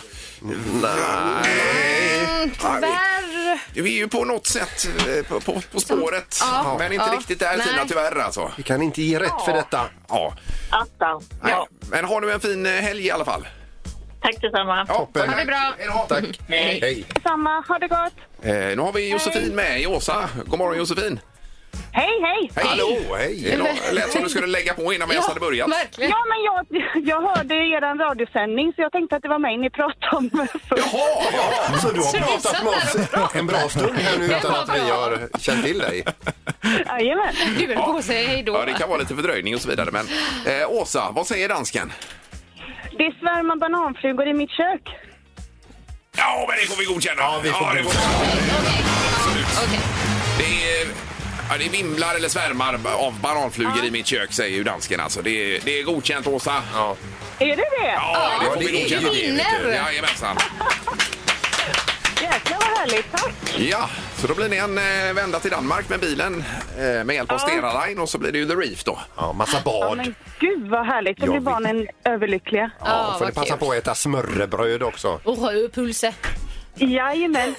[SPEAKER 4] Tyvärr.
[SPEAKER 2] vi är ju på något sätt eh, på, på, på spåret.
[SPEAKER 4] Ja.
[SPEAKER 2] Men inte
[SPEAKER 4] Ja.
[SPEAKER 2] riktigt där
[SPEAKER 4] Nej.
[SPEAKER 2] Tina, tyvärr alltså.
[SPEAKER 3] Vi kan inte ge rätt för detta.
[SPEAKER 2] Ja.
[SPEAKER 6] Attan.
[SPEAKER 2] Nej. Men har nu en fin eh, helg i alla fall.
[SPEAKER 6] Tack detsamma.
[SPEAKER 2] Ja,
[SPEAKER 3] Toppen.
[SPEAKER 2] tack.
[SPEAKER 4] Ha det bra.
[SPEAKER 2] Hej då.
[SPEAKER 3] Tack. Hej.
[SPEAKER 6] Detsamma. Ha det gott.
[SPEAKER 2] Eh, nu har vi Josefin med i Åsa. God morgon Josefin.
[SPEAKER 6] Hej, hej.
[SPEAKER 2] Hej.
[SPEAKER 3] Hallå, hej.
[SPEAKER 2] Det lå- lät som du skulle lägga på innan vi ens hade börjat.
[SPEAKER 4] Verkligen.
[SPEAKER 6] Ja, men jag, jag hörde er radiosändning så jag tänkte att det var mig ni pratade om.
[SPEAKER 2] Jaha, ja.
[SPEAKER 3] Så du har pratat med oss en bra stund här nu utan
[SPEAKER 4] var
[SPEAKER 3] att vi
[SPEAKER 4] bra.
[SPEAKER 3] har känt till dig.
[SPEAKER 6] Jajamän.
[SPEAKER 4] Du höll på att säga hej då.
[SPEAKER 2] ja, det kan vara lite fördröjning och så vidare. Men eh, Åsa, vad säger dansken?
[SPEAKER 6] Det svärmar bananflugor i mitt kök.
[SPEAKER 2] Ja, men det får vi godkänna. Ja,
[SPEAKER 3] vi får
[SPEAKER 2] det, får
[SPEAKER 3] godkänna.
[SPEAKER 2] vi.
[SPEAKER 4] Okej.
[SPEAKER 2] det är... Ja, det vimlar eller svärmar av bananflugor i mitt kök, säger ju dansken. Alltså, det, är, det är godkänt, Åsa. Ja,
[SPEAKER 6] Är det det?
[SPEAKER 2] det får
[SPEAKER 3] det
[SPEAKER 2] vi
[SPEAKER 3] är
[SPEAKER 2] godkänna.
[SPEAKER 4] ju vinner.
[SPEAKER 2] Jajamensan.
[SPEAKER 6] Jäklar vad härligt. Tack.
[SPEAKER 2] Ja, så då blir det en eh, vända till Danmark med bilen eh, med hjälp av Stena Line och så blir det ju The Reef då.
[SPEAKER 3] Ja, massa
[SPEAKER 6] Ja,
[SPEAKER 3] bad.
[SPEAKER 6] men gud vad härligt. Då
[SPEAKER 3] Jag
[SPEAKER 6] blir
[SPEAKER 3] vet.
[SPEAKER 6] barnen överlyckliga.
[SPEAKER 4] Ja,
[SPEAKER 3] Ja, får ni
[SPEAKER 4] vad
[SPEAKER 3] passa
[SPEAKER 4] kul.
[SPEAKER 3] på att äta smörrebröd också.
[SPEAKER 4] Och röd pulse.
[SPEAKER 6] Jajamän.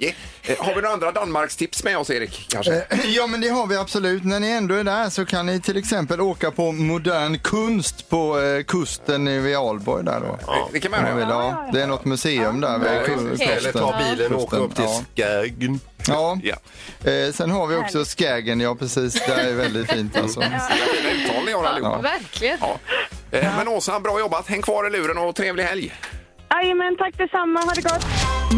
[SPEAKER 2] Ja. Eh, Har vi några andra Danmarkstips med oss, Erik? Kanske?
[SPEAKER 5] Ja men det har vi absolut. När ni ändå är där så kan ni till exempel åka på modern kunst på eh, kusten i Alborg där då.
[SPEAKER 2] Det- Det kan man
[SPEAKER 5] Om man
[SPEAKER 2] göra.
[SPEAKER 5] vill,
[SPEAKER 2] ja.
[SPEAKER 5] ja. Det är något museum där vid ku- kusten.
[SPEAKER 3] Eller ta bilen och åka upp till
[SPEAKER 5] Ja.
[SPEAKER 3] Skagen.
[SPEAKER 5] Ja.
[SPEAKER 2] Ja.
[SPEAKER 5] Eh, sen har vi också Skagen, ja precis. Det är väldigt fint alltså.
[SPEAKER 2] Fina uttal ni har allihopa.
[SPEAKER 4] Verkligen.
[SPEAKER 2] Ja. Eh, Men Åsa, bra jobbat. Häng kvar i luren och trevlig helg.
[SPEAKER 6] Jajamän, tack detsamma. Ha det gott.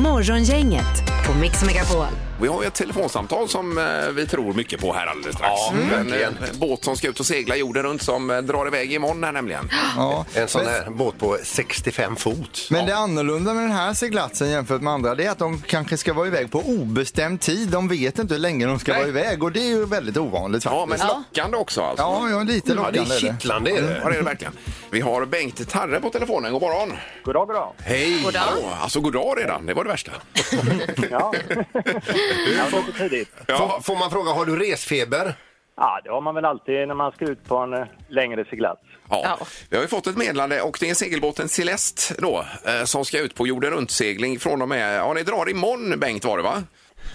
[SPEAKER 1] Morgongänget på Mix Megapol.
[SPEAKER 2] Vi har ju ett telefonsamtal som eh, vi tror mycket på här alldeles strax.
[SPEAKER 3] Ja,
[SPEAKER 2] Men,
[SPEAKER 3] verkligen.
[SPEAKER 2] eh, båt som ska ut och segla jorden runt som eh, drar iväg imorgon här nämligen.
[SPEAKER 5] Ja.
[SPEAKER 3] En sån här båt på 65 fot.
[SPEAKER 5] Men det annorlunda med den här seglatsen jämfört med andra det är att de kanske ska vara iväg på obestämd tid. De vet inte hur länge de ska
[SPEAKER 2] Nej.
[SPEAKER 5] vara iväg och det är ju väldigt ovanligt
[SPEAKER 2] Ja, men
[SPEAKER 5] faktiskt.
[SPEAKER 2] lockande också alltså.
[SPEAKER 5] Ja, ja lite
[SPEAKER 3] Ja, det
[SPEAKER 5] lockande
[SPEAKER 3] är
[SPEAKER 5] är det.
[SPEAKER 3] kittlande. Är
[SPEAKER 2] Ja,
[SPEAKER 3] det.
[SPEAKER 2] det är det verkligen. Vi har Bengt Tarre på telefonen. God morgon!
[SPEAKER 6] God dag, god dag.
[SPEAKER 3] Hej!
[SPEAKER 4] God dag.
[SPEAKER 2] Hallå. Alltså, god dag redan. Det var det värsta.
[SPEAKER 6] [LAUGHS]
[SPEAKER 2] [LAUGHS]
[SPEAKER 6] Ja. ja, det är för tidigt.
[SPEAKER 3] Får, får man fråga, har du resfeber?
[SPEAKER 6] Ja, det har man väl alltid när man ska ut på en eh, längre seglats.
[SPEAKER 2] Ja.
[SPEAKER 4] Ja.
[SPEAKER 2] Vi har ju fått ett meddelande och det är segelbåten Celeste då eh, som ska ut på jorden runt-segling från och med... Ja, ni drar imorgon Bengt var det va?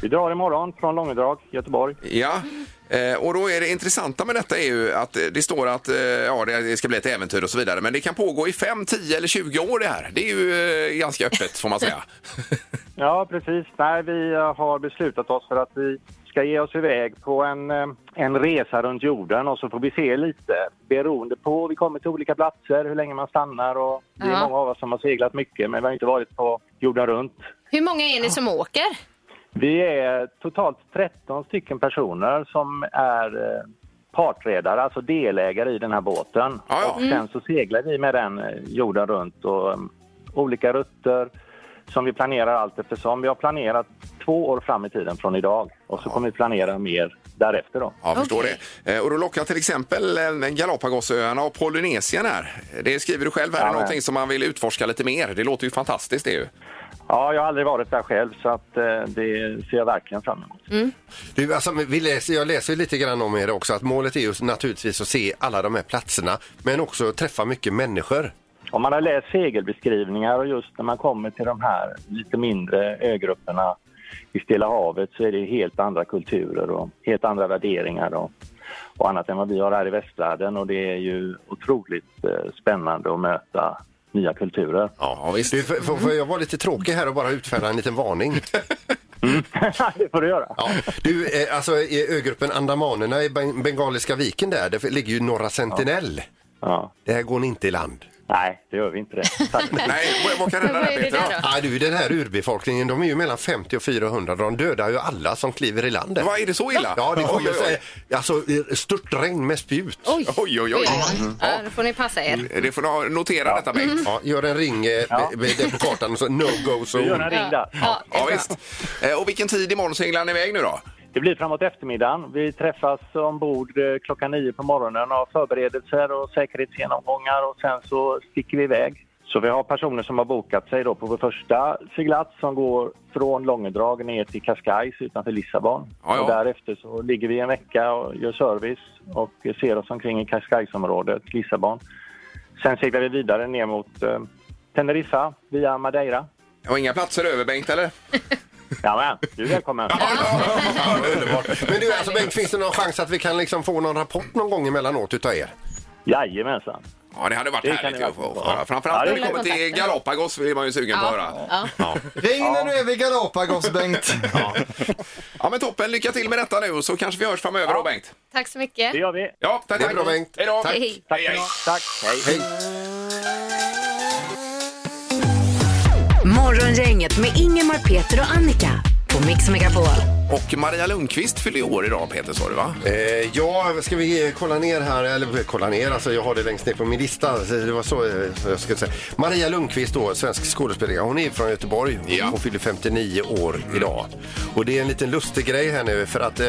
[SPEAKER 6] Vi drar imorgon från Långedrag, Göteborg.
[SPEAKER 2] Ja. Eh, och då är det intressanta med detta är ju att eh, det står att eh, ja, det ska bli ett äventyr och så vidare. Men det kan pågå i 5, 10 eller 20 år det här. Det är ju eh, ganska öppet får man säga.
[SPEAKER 9] Ja, precis. Nej, vi eh, har beslutat oss för att vi ska ge oss iväg på en, eh, en resa runt jorden och så får vi se lite beroende på, vi kommer till olika platser, hur länge man stannar och det är
[SPEAKER 4] Ja.
[SPEAKER 9] många av oss som har seglat mycket men vi har inte varit på jorden runt.
[SPEAKER 4] Hur många är ni som åker?
[SPEAKER 9] Vi är totalt 13 stycken personer som är eh, partredare, alltså delägare i den här båten.
[SPEAKER 2] Ja, ja.
[SPEAKER 9] Och sen så seglar vi med den eh, jorden runt och eh, olika rutter som vi planerar allt eftersom. Vi har planerat två år fram i tiden från idag och så kommer vi planera mer därefter då.
[SPEAKER 2] Ja, jag förstår
[SPEAKER 4] Okej.
[SPEAKER 2] det. Eh, Och då lockar till exempel eh, Galapagosöarna och Polynesien här. Det skriver du själv här, är
[SPEAKER 9] Ja, men.
[SPEAKER 2] någonting som man vill utforska lite mer. Det låter ju fantastiskt det är ju.
[SPEAKER 9] Ja, jag har aldrig varit där själv så att eh, det ser jag verkligen fram emot.
[SPEAKER 3] Du, alltså, vi läser, jag läser ju lite grann om er också att målet är ju naturligtvis att se alla de här platserna men också träffa mycket människor.
[SPEAKER 9] Om man har läst segelbeskrivningar och just när man kommer till de här lite mindre ögrupperna i Stilla havet så är det helt andra kulturer och helt andra värderingar och, och annat än vad vi har här i västvärlden och det är ju otroligt eh, spännande att möta nya kulturer.
[SPEAKER 2] Ja, visst.
[SPEAKER 3] Du, får, får- får jag vara lite tråkig här och bara utfärda en liten varning?
[SPEAKER 9] det får du göra.
[SPEAKER 3] Ja. Du, eh, alltså i ögruppen Andamanerna i Ben- Bengaliska viken där, där ligger ju Norra Sentinell.
[SPEAKER 9] Ja.
[SPEAKER 3] Där går ni inte i land.
[SPEAKER 9] Nej, det gör vi inte det. Tack.
[SPEAKER 2] Nej, vad- vad kan hända
[SPEAKER 4] Vad
[SPEAKER 2] där
[SPEAKER 4] är det
[SPEAKER 2] Peter?
[SPEAKER 4] där
[SPEAKER 3] Ja, du, den här urbefolkningen, de är ju mellan 50 och 400. De dödar ju alla som kliver i land. där.
[SPEAKER 2] Vad är det så illa?
[SPEAKER 3] Ja, det kommer
[SPEAKER 2] Oj, oj,
[SPEAKER 3] eh, alltså störtregn med spjut.
[SPEAKER 4] Oj,
[SPEAKER 2] Oj, oj, oj. Mm.
[SPEAKER 4] Ja, då får ni passa er.
[SPEAKER 2] oj. Det får du notera detta Bengt.
[SPEAKER 4] Mm.
[SPEAKER 3] Ja, gör en ring eh,
[SPEAKER 9] Ja.
[SPEAKER 3] med- med den på kartan och så no-go
[SPEAKER 9] Du gör en
[SPEAKER 3] zone.
[SPEAKER 9] ring där.
[SPEAKER 4] Ja,
[SPEAKER 2] Ja,
[SPEAKER 4] det är
[SPEAKER 2] visst.
[SPEAKER 4] bra.
[SPEAKER 2] Eh, Och vilken tid imorgon seglar ni iväg nu då?
[SPEAKER 9] Det blir framåt eftermiddagen. Vi träffas ombord eh, klockan nio på morgonen och har förberedelser och säkerhetsgenomgångar och sen så sticker vi iväg. Så vi har personer som har bokat sig då på vår första seglats som går från Långedrag ner till Cascais utanför Lissabon.
[SPEAKER 2] Ja, ja.
[SPEAKER 9] Och därefter så ligger vi en vecka och gör service och ser oss omkring i Cascaisområdet, Lissabon. Sen seglar vi vidare ner mot eh, Teneriffa via Madeira.
[SPEAKER 2] Och inga platser över Bengt eller?
[SPEAKER 9] Jajamän, du är välkommen!
[SPEAKER 3] Ja, underbart. Men du, alltså Bengt, finns det någon chans att vi kan liksom få någon rapport någon gång emellanåt utav er?
[SPEAKER 9] Jajamensan!
[SPEAKER 2] Ja, det hade varit
[SPEAKER 9] Det kan
[SPEAKER 2] härligt
[SPEAKER 9] det
[SPEAKER 2] ju att få
[SPEAKER 9] verkligen
[SPEAKER 2] få höra.
[SPEAKER 9] vara.
[SPEAKER 2] Framförallt
[SPEAKER 9] Ja,
[SPEAKER 2] när vi
[SPEAKER 9] det-
[SPEAKER 2] kommer till Galapagos blir man ju sugen på att höra.
[SPEAKER 4] Ja.
[SPEAKER 5] Ring när du är vid Galapagos, Bengt.
[SPEAKER 2] Ja men toppen, lycka till med detta nu så kanske vi hörs framöver då Bengt.
[SPEAKER 4] Tack så mycket.
[SPEAKER 9] Det gör vi!
[SPEAKER 2] Ja, tack.
[SPEAKER 3] Det är bra,
[SPEAKER 2] tack.
[SPEAKER 3] Bengt.
[SPEAKER 2] Hej då.
[SPEAKER 3] Tack.
[SPEAKER 4] Hej.
[SPEAKER 9] Tack,
[SPEAKER 2] Hej, hej.
[SPEAKER 9] tack. Hej.
[SPEAKER 3] Hej!
[SPEAKER 1] Morgongänget med Ingemar, Peter och Annika på Mix Megapol.
[SPEAKER 2] Och Maria Lundqvist fyller ju år idag Peter sa
[SPEAKER 4] [LAUGHS]
[SPEAKER 2] du va?
[SPEAKER 3] Eh, ja, ska vi eh, kolla ner här? Eller eh, kolla ner, alltså jag har det längst ner på min lista. Så Det var så eh, jag skulle säga. Maria Lundqvist då, svensk skådespelerska. Hon är från Göteborg.
[SPEAKER 2] Ja.
[SPEAKER 3] Hon fyller 59 år idag. Och det är en liten lustig grej här nu för att eh,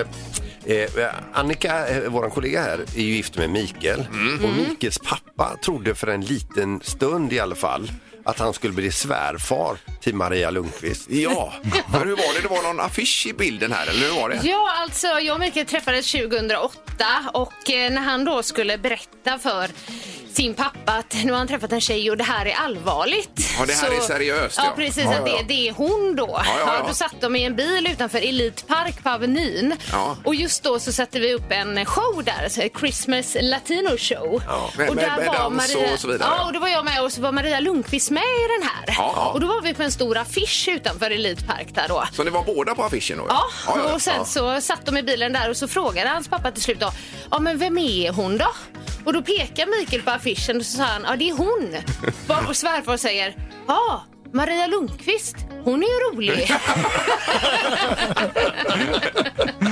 [SPEAKER 3] Eh, Annika, eh, vår kollega här, är ju gift med Mikael. Och Mikels pappa trodde för en liten stund i alla fall att han skulle bli svärfar till Maria Lundqvist.
[SPEAKER 2] Ja, men hur var det? Det var någon affisch i bilden här, eller hur var det?
[SPEAKER 4] Ja, alltså jag och Mikael träffades 2008 och eh, när han då skulle berätta för sin pappa att nu har han träffat en tjej och det här är allvarligt.
[SPEAKER 2] Ja, det här är seriöst,
[SPEAKER 4] Ja,
[SPEAKER 2] ja.
[SPEAKER 4] precis.
[SPEAKER 2] Ja,
[SPEAKER 4] att
[SPEAKER 2] ja, ja.
[SPEAKER 4] Det, det är hon då. Ja,
[SPEAKER 2] ja, ja.
[SPEAKER 4] då satt de i en bil utanför Elite Park på Avenyn
[SPEAKER 2] Ja.
[SPEAKER 4] och just då så satte vi upp en show där, så här Christmas Latino Show.
[SPEAKER 2] Ja, med- med- med dans och så vidare.
[SPEAKER 4] Ja, och då var jag med och så var Maria Lundqvist med i den här.
[SPEAKER 2] Ja, ja.
[SPEAKER 4] Och då var vi på en stor affisch utanför Elite Park där då.
[SPEAKER 2] Så ni var båda på affischen då?
[SPEAKER 4] Ja, och sen så satt de i bilen där och så frågade hans pappa till slut då, ja men vem är hon då? Och då pekar Mikael på affischen och så sa han, ja det är hon. Varpå svärfar säger, ja Maria Lundqvist, hon är ju rolig.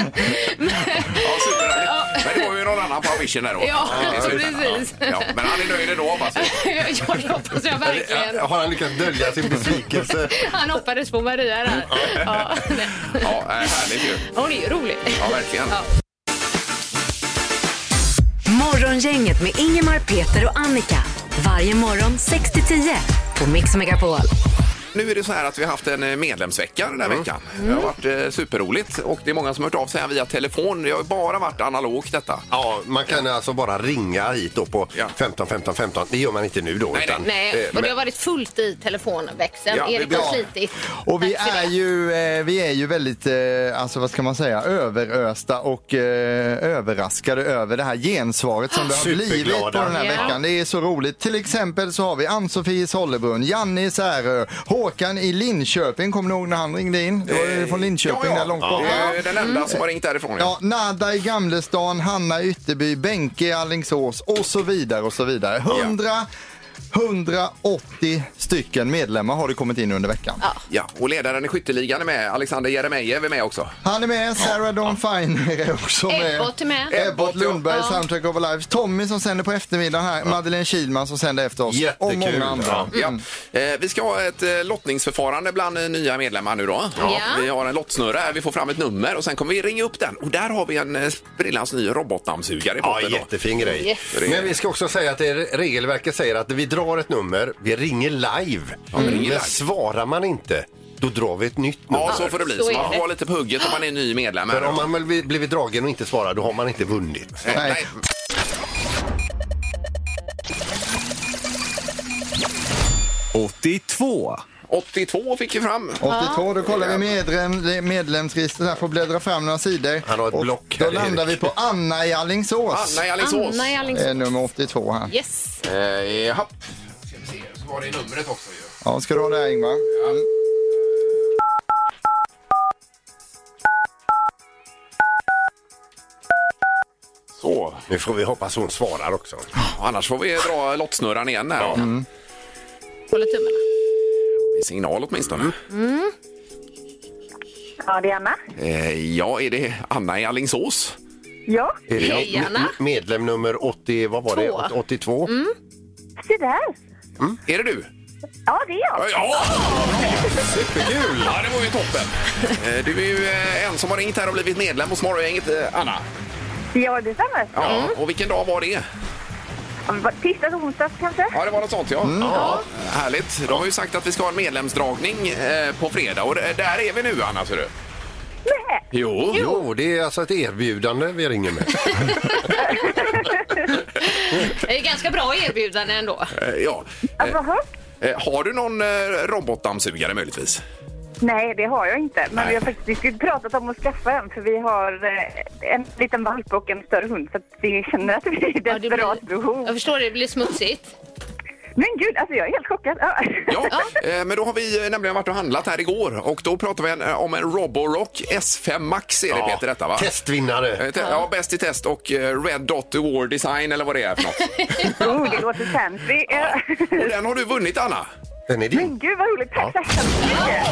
[SPEAKER 2] Ja, superhärligt. Men det var ju någon annan på affischen där då.
[SPEAKER 4] Ja,
[SPEAKER 2] det är
[SPEAKER 4] precis.
[SPEAKER 2] Ja, men han är nöjd ändå hoppas vi.
[SPEAKER 4] ja, det hoppas jag verkligen.
[SPEAKER 3] Har han lyckats dölja sin besvikelse?
[SPEAKER 4] Han hoppades på Maria där. Ja, nej.
[SPEAKER 2] Ja, eh, härligt ju.
[SPEAKER 4] hon är ju rolig.
[SPEAKER 2] Ja, verkligen.
[SPEAKER 4] Ja.
[SPEAKER 1] Morgongänget med Ingemar, Peter och Annika. Varje morgon 6 till 10 på Mix Megapol.
[SPEAKER 2] nu är det så här att vi har haft en eh, medlemsvecka den här
[SPEAKER 5] Mm.
[SPEAKER 2] veckan. Det har varit eh, superroligt och det är många som har hört av sig här via telefon. Det har ju bara varit analogt detta.
[SPEAKER 3] Ja, man kan alltså bara ringa hit då på 15 15 15. Det gör man inte nu då. Nej, utan,
[SPEAKER 4] Nej,
[SPEAKER 3] eh,
[SPEAKER 4] och det har
[SPEAKER 3] men-
[SPEAKER 4] varit fullt i telefonväxeln.
[SPEAKER 3] Ja, det
[SPEAKER 4] Erik
[SPEAKER 3] blir
[SPEAKER 4] har
[SPEAKER 3] bra.
[SPEAKER 4] slitit.
[SPEAKER 5] Och vi är, ju, eh, vi är ju väldigt, eh, alltså vad ska man säga, överösta och eh, överraskade över det här gensvaret som det har blivit på
[SPEAKER 3] Superglada.
[SPEAKER 5] den här
[SPEAKER 3] Ja.
[SPEAKER 5] veckan. Det är så roligt. Till exempel så har vi Ann-Sofie i Sollebrunn, Janne i Särö, Håkan i Linköping. Kommer ni ihåg när han ringde in? Det var ju från Linköping, där långt bort.
[SPEAKER 2] Det är ju den enda som har ringt därifrån.
[SPEAKER 5] Ja, Nada i Gamlestan, Hanna i Ytterby, Benke i Alingsås och så vidare och så vidare. 100, 180 stycken medlemmar har det kommit in under veckan.
[SPEAKER 2] Ja, och ledaren i skytteligan är med. Alexander Jeremejeff är med också.
[SPEAKER 5] Han är med, Sarah Dawn Finer [LAUGHS] är också med.
[SPEAKER 4] Ebbot är med.
[SPEAKER 5] Ebbot Lundberg,
[SPEAKER 4] Ja.
[SPEAKER 5] Soundtrack of Life. Tommy som sänder på eftermiddagen här, Madeleine Kilman som sänder efter oss. Och många andra. Mm.
[SPEAKER 2] Ja. Eh, Vi ska ha ett eh, lottningsförfarande bland eh, nya medlemmar nu då.
[SPEAKER 4] Ja.
[SPEAKER 2] Vi har en lottsnurra här, vi får fram ett nummer och sen kommer vi ringa upp den. Och där har vi en eh, sprillans ny robotdammsugare i
[SPEAKER 3] Ja,
[SPEAKER 2] botten. då.
[SPEAKER 3] jättefin grej.
[SPEAKER 4] Yes.
[SPEAKER 3] Men vi ska också säga att det är- regelverket säger att vi drar ett nummer, vi ringer live. Men svarar man inte, då drar vi ett nytt nummer.
[SPEAKER 2] Ja, så får det bli.
[SPEAKER 4] Så
[SPEAKER 2] Så
[SPEAKER 4] är
[SPEAKER 2] man får
[SPEAKER 4] det.
[SPEAKER 2] vara lite på hugget om man är ny medlem. här.
[SPEAKER 3] För om man väl blir- blivit dragen och inte svarar, då har man inte vunnit.
[SPEAKER 2] Eh,
[SPEAKER 5] Nej.
[SPEAKER 2] nej.
[SPEAKER 10] Åttiotvå.
[SPEAKER 2] 82 fick vi fram.
[SPEAKER 5] 82, då kollar vi medlem, medlemsregistret här, får bläddra fram några sidor.
[SPEAKER 3] Han har ett
[SPEAKER 5] Och
[SPEAKER 3] block
[SPEAKER 5] Då
[SPEAKER 3] här,
[SPEAKER 5] landar vi
[SPEAKER 3] Erik.
[SPEAKER 5] på Anna i Alingsås.
[SPEAKER 2] Anna i Alingsås.
[SPEAKER 4] Anna i Alingsås.
[SPEAKER 5] Eh, nummer 82 här.
[SPEAKER 4] Yes.
[SPEAKER 2] Eh, Mm. Jaha. Ska vi se, så var det numret också ju.
[SPEAKER 5] Ja, ska du ha det här Ingvar?
[SPEAKER 2] Så.
[SPEAKER 3] Nu får vi hoppas hon svarar också.
[SPEAKER 2] Annars får vi dra lottsnurran igen här. Mm. då.
[SPEAKER 4] Håller tummarna.
[SPEAKER 2] I signal åtminstone.
[SPEAKER 11] Mm. Ja, det är Anna.
[SPEAKER 2] Eh, ja, är det Anna i Alingsås?
[SPEAKER 11] Ja,
[SPEAKER 3] Är det
[SPEAKER 4] Hej,
[SPEAKER 3] med-
[SPEAKER 4] Anna.
[SPEAKER 3] med- medlem nummer 80, vad var det?
[SPEAKER 4] Två.
[SPEAKER 3] 82?
[SPEAKER 11] se där.
[SPEAKER 2] Är det du?
[SPEAKER 11] Ja, det är jag.
[SPEAKER 2] Ja! ja. Superkul! Ja, det var ju toppen. Eh, Du är ju eh, en som har ringt här och blivit medlem hos Morgongänget, eh, Anna.
[SPEAKER 11] Ja, detsamma.
[SPEAKER 2] Ja, och vilken dag var det?
[SPEAKER 11] Tisdag och onsdag kanske?
[SPEAKER 2] Ja, det var något sånt ja.
[SPEAKER 11] Mm.
[SPEAKER 2] ja. Härligt. De har ju sagt att vi ska ha en medlemsdragning eh, på fredag och d- där är vi nu Anna, ser du.
[SPEAKER 11] Nej.
[SPEAKER 2] Jo.
[SPEAKER 3] Jo, det är alltså ett erbjudande vi ringer med.
[SPEAKER 4] Det är ganska bra erbjudande ändå.
[SPEAKER 2] Eh, Ja.
[SPEAKER 11] Ja, Alltså, vad högt?
[SPEAKER 2] Eh, Har du någon eh, robotdammsugare möjligtvis?
[SPEAKER 11] Nej, det har jag inte. Men
[SPEAKER 2] Nej.
[SPEAKER 11] vi har faktiskt diskut- pratat om att skaffa en för vi har eh, en liten valp och en större hund så att vi känner att vi är i
[SPEAKER 4] Ja, det
[SPEAKER 11] desperat
[SPEAKER 4] blir,
[SPEAKER 11] behov.
[SPEAKER 4] jag förstår det, det blir smutsigt.
[SPEAKER 11] Men gud, alltså jag är helt chockad. Ja. [LAUGHS]
[SPEAKER 2] Ja, eh, men då har vi eh, nämligen varit och handlat här igår och då pratar vi en- eh, om en Roborock S5 Max är det Peter detta va?
[SPEAKER 3] Testvinnare.
[SPEAKER 2] Eh, te- Ja, bäst i test och eh, Red Dot Award Design eller vad det är för något.
[SPEAKER 11] Oh, det låter fancy. Ja.
[SPEAKER 2] Och den har du vunnit Anna.
[SPEAKER 3] Den är din.
[SPEAKER 11] Men gud vad roligt. Tack, tack så mycket.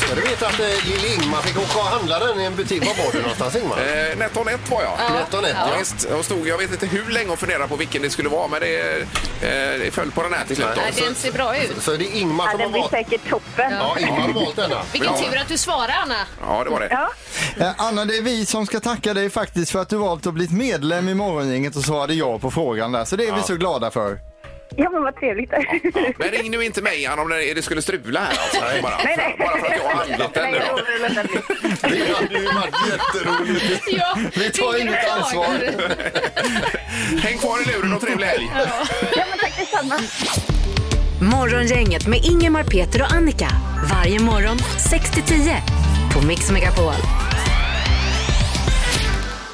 [SPEAKER 3] Ska du veta att eh, lille Ingmar fick åka och handla den i en butik. Var var du någonstans Ingmar?
[SPEAKER 2] Eh, NetOnNet var jag.
[SPEAKER 3] Nettonet,
[SPEAKER 2] Ja.
[SPEAKER 3] ja.
[SPEAKER 2] Visst, jag, stod, jag vet inte hur länge och funderade på vilken det skulle vara men det, eh, det föll på den här till slut. Då.
[SPEAKER 4] Nej,
[SPEAKER 5] Alltså-
[SPEAKER 4] den ser bra ut.
[SPEAKER 3] Så det är Ingmar
[SPEAKER 11] Ja,
[SPEAKER 3] som har
[SPEAKER 11] den blir
[SPEAKER 3] valt.
[SPEAKER 11] säkert toppen.
[SPEAKER 3] Ja, Ingmar har valt denna.
[SPEAKER 4] Vilken tur att du svarar, Anna.
[SPEAKER 2] Ja, det var det.
[SPEAKER 11] Ja.
[SPEAKER 5] Eh, Anna, det är vi som ska tacka dig faktiskt för att du valt att bli medlem i Morgongänget och svarade ja på frågan där. Så det är vi så glada för.
[SPEAKER 11] ja, men vad trevligt.
[SPEAKER 2] Men ring nu inte mig Anna, om det, det skulle strula här alltså. Bara, bara för att jag har handlat den nu
[SPEAKER 11] Nej,
[SPEAKER 2] då.
[SPEAKER 11] det var väl att den-
[SPEAKER 3] Det hade ju varit jätteroligt.
[SPEAKER 4] [LAUGHS] Ja,
[SPEAKER 5] Vi tar
[SPEAKER 4] ringer
[SPEAKER 5] inget
[SPEAKER 4] och klagar.
[SPEAKER 5] ansvar.
[SPEAKER 2] Häng kvar i luren och trevlig helg!
[SPEAKER 11] Ja, men tack detsamma.
[SPEAKER 1] Morgongänget med Ingemar, Peter och Annika. Varje morgon 6 till 10 på Mix Megapol.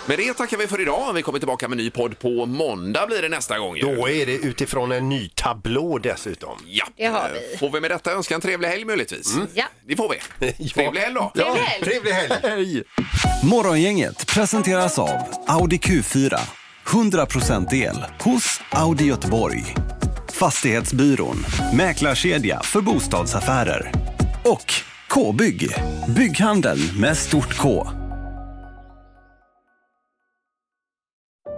[SPEAKER 2] Med det tackar vi för idag. Vi kommer tillbaka med ny podd på måndag blir det nästa gång. ju.
[SPEAKER 3] Då är det utifrån en ny tablå dessutom.
[SPEAKER 2] Ja.
[SPEAKER 4] Det har vi. Mm.
[SPEAKER 2] Får vi med detta önska en trevlig helg möjligtvis?
[SPEAKER 4] Ja.
[SPEAKER 2] Det får vi.
[SPEAKER 3] [LAUGHS]
[SPEAKER 2] Trevlig helg då!
[SPEAKER 4] Trevlig helg.
[SPEAKER 3] Trevlig helg!
[SPEAKER 5] Hej!
[SPEAKER 12] Morgongänget presenteras av Audi Q4. 100% el hos Audi Göteborg. Fastighetsbyrån. Mäklarkedja för bostadsaffärer. Och K-bygg. Bygghandeln med stort K.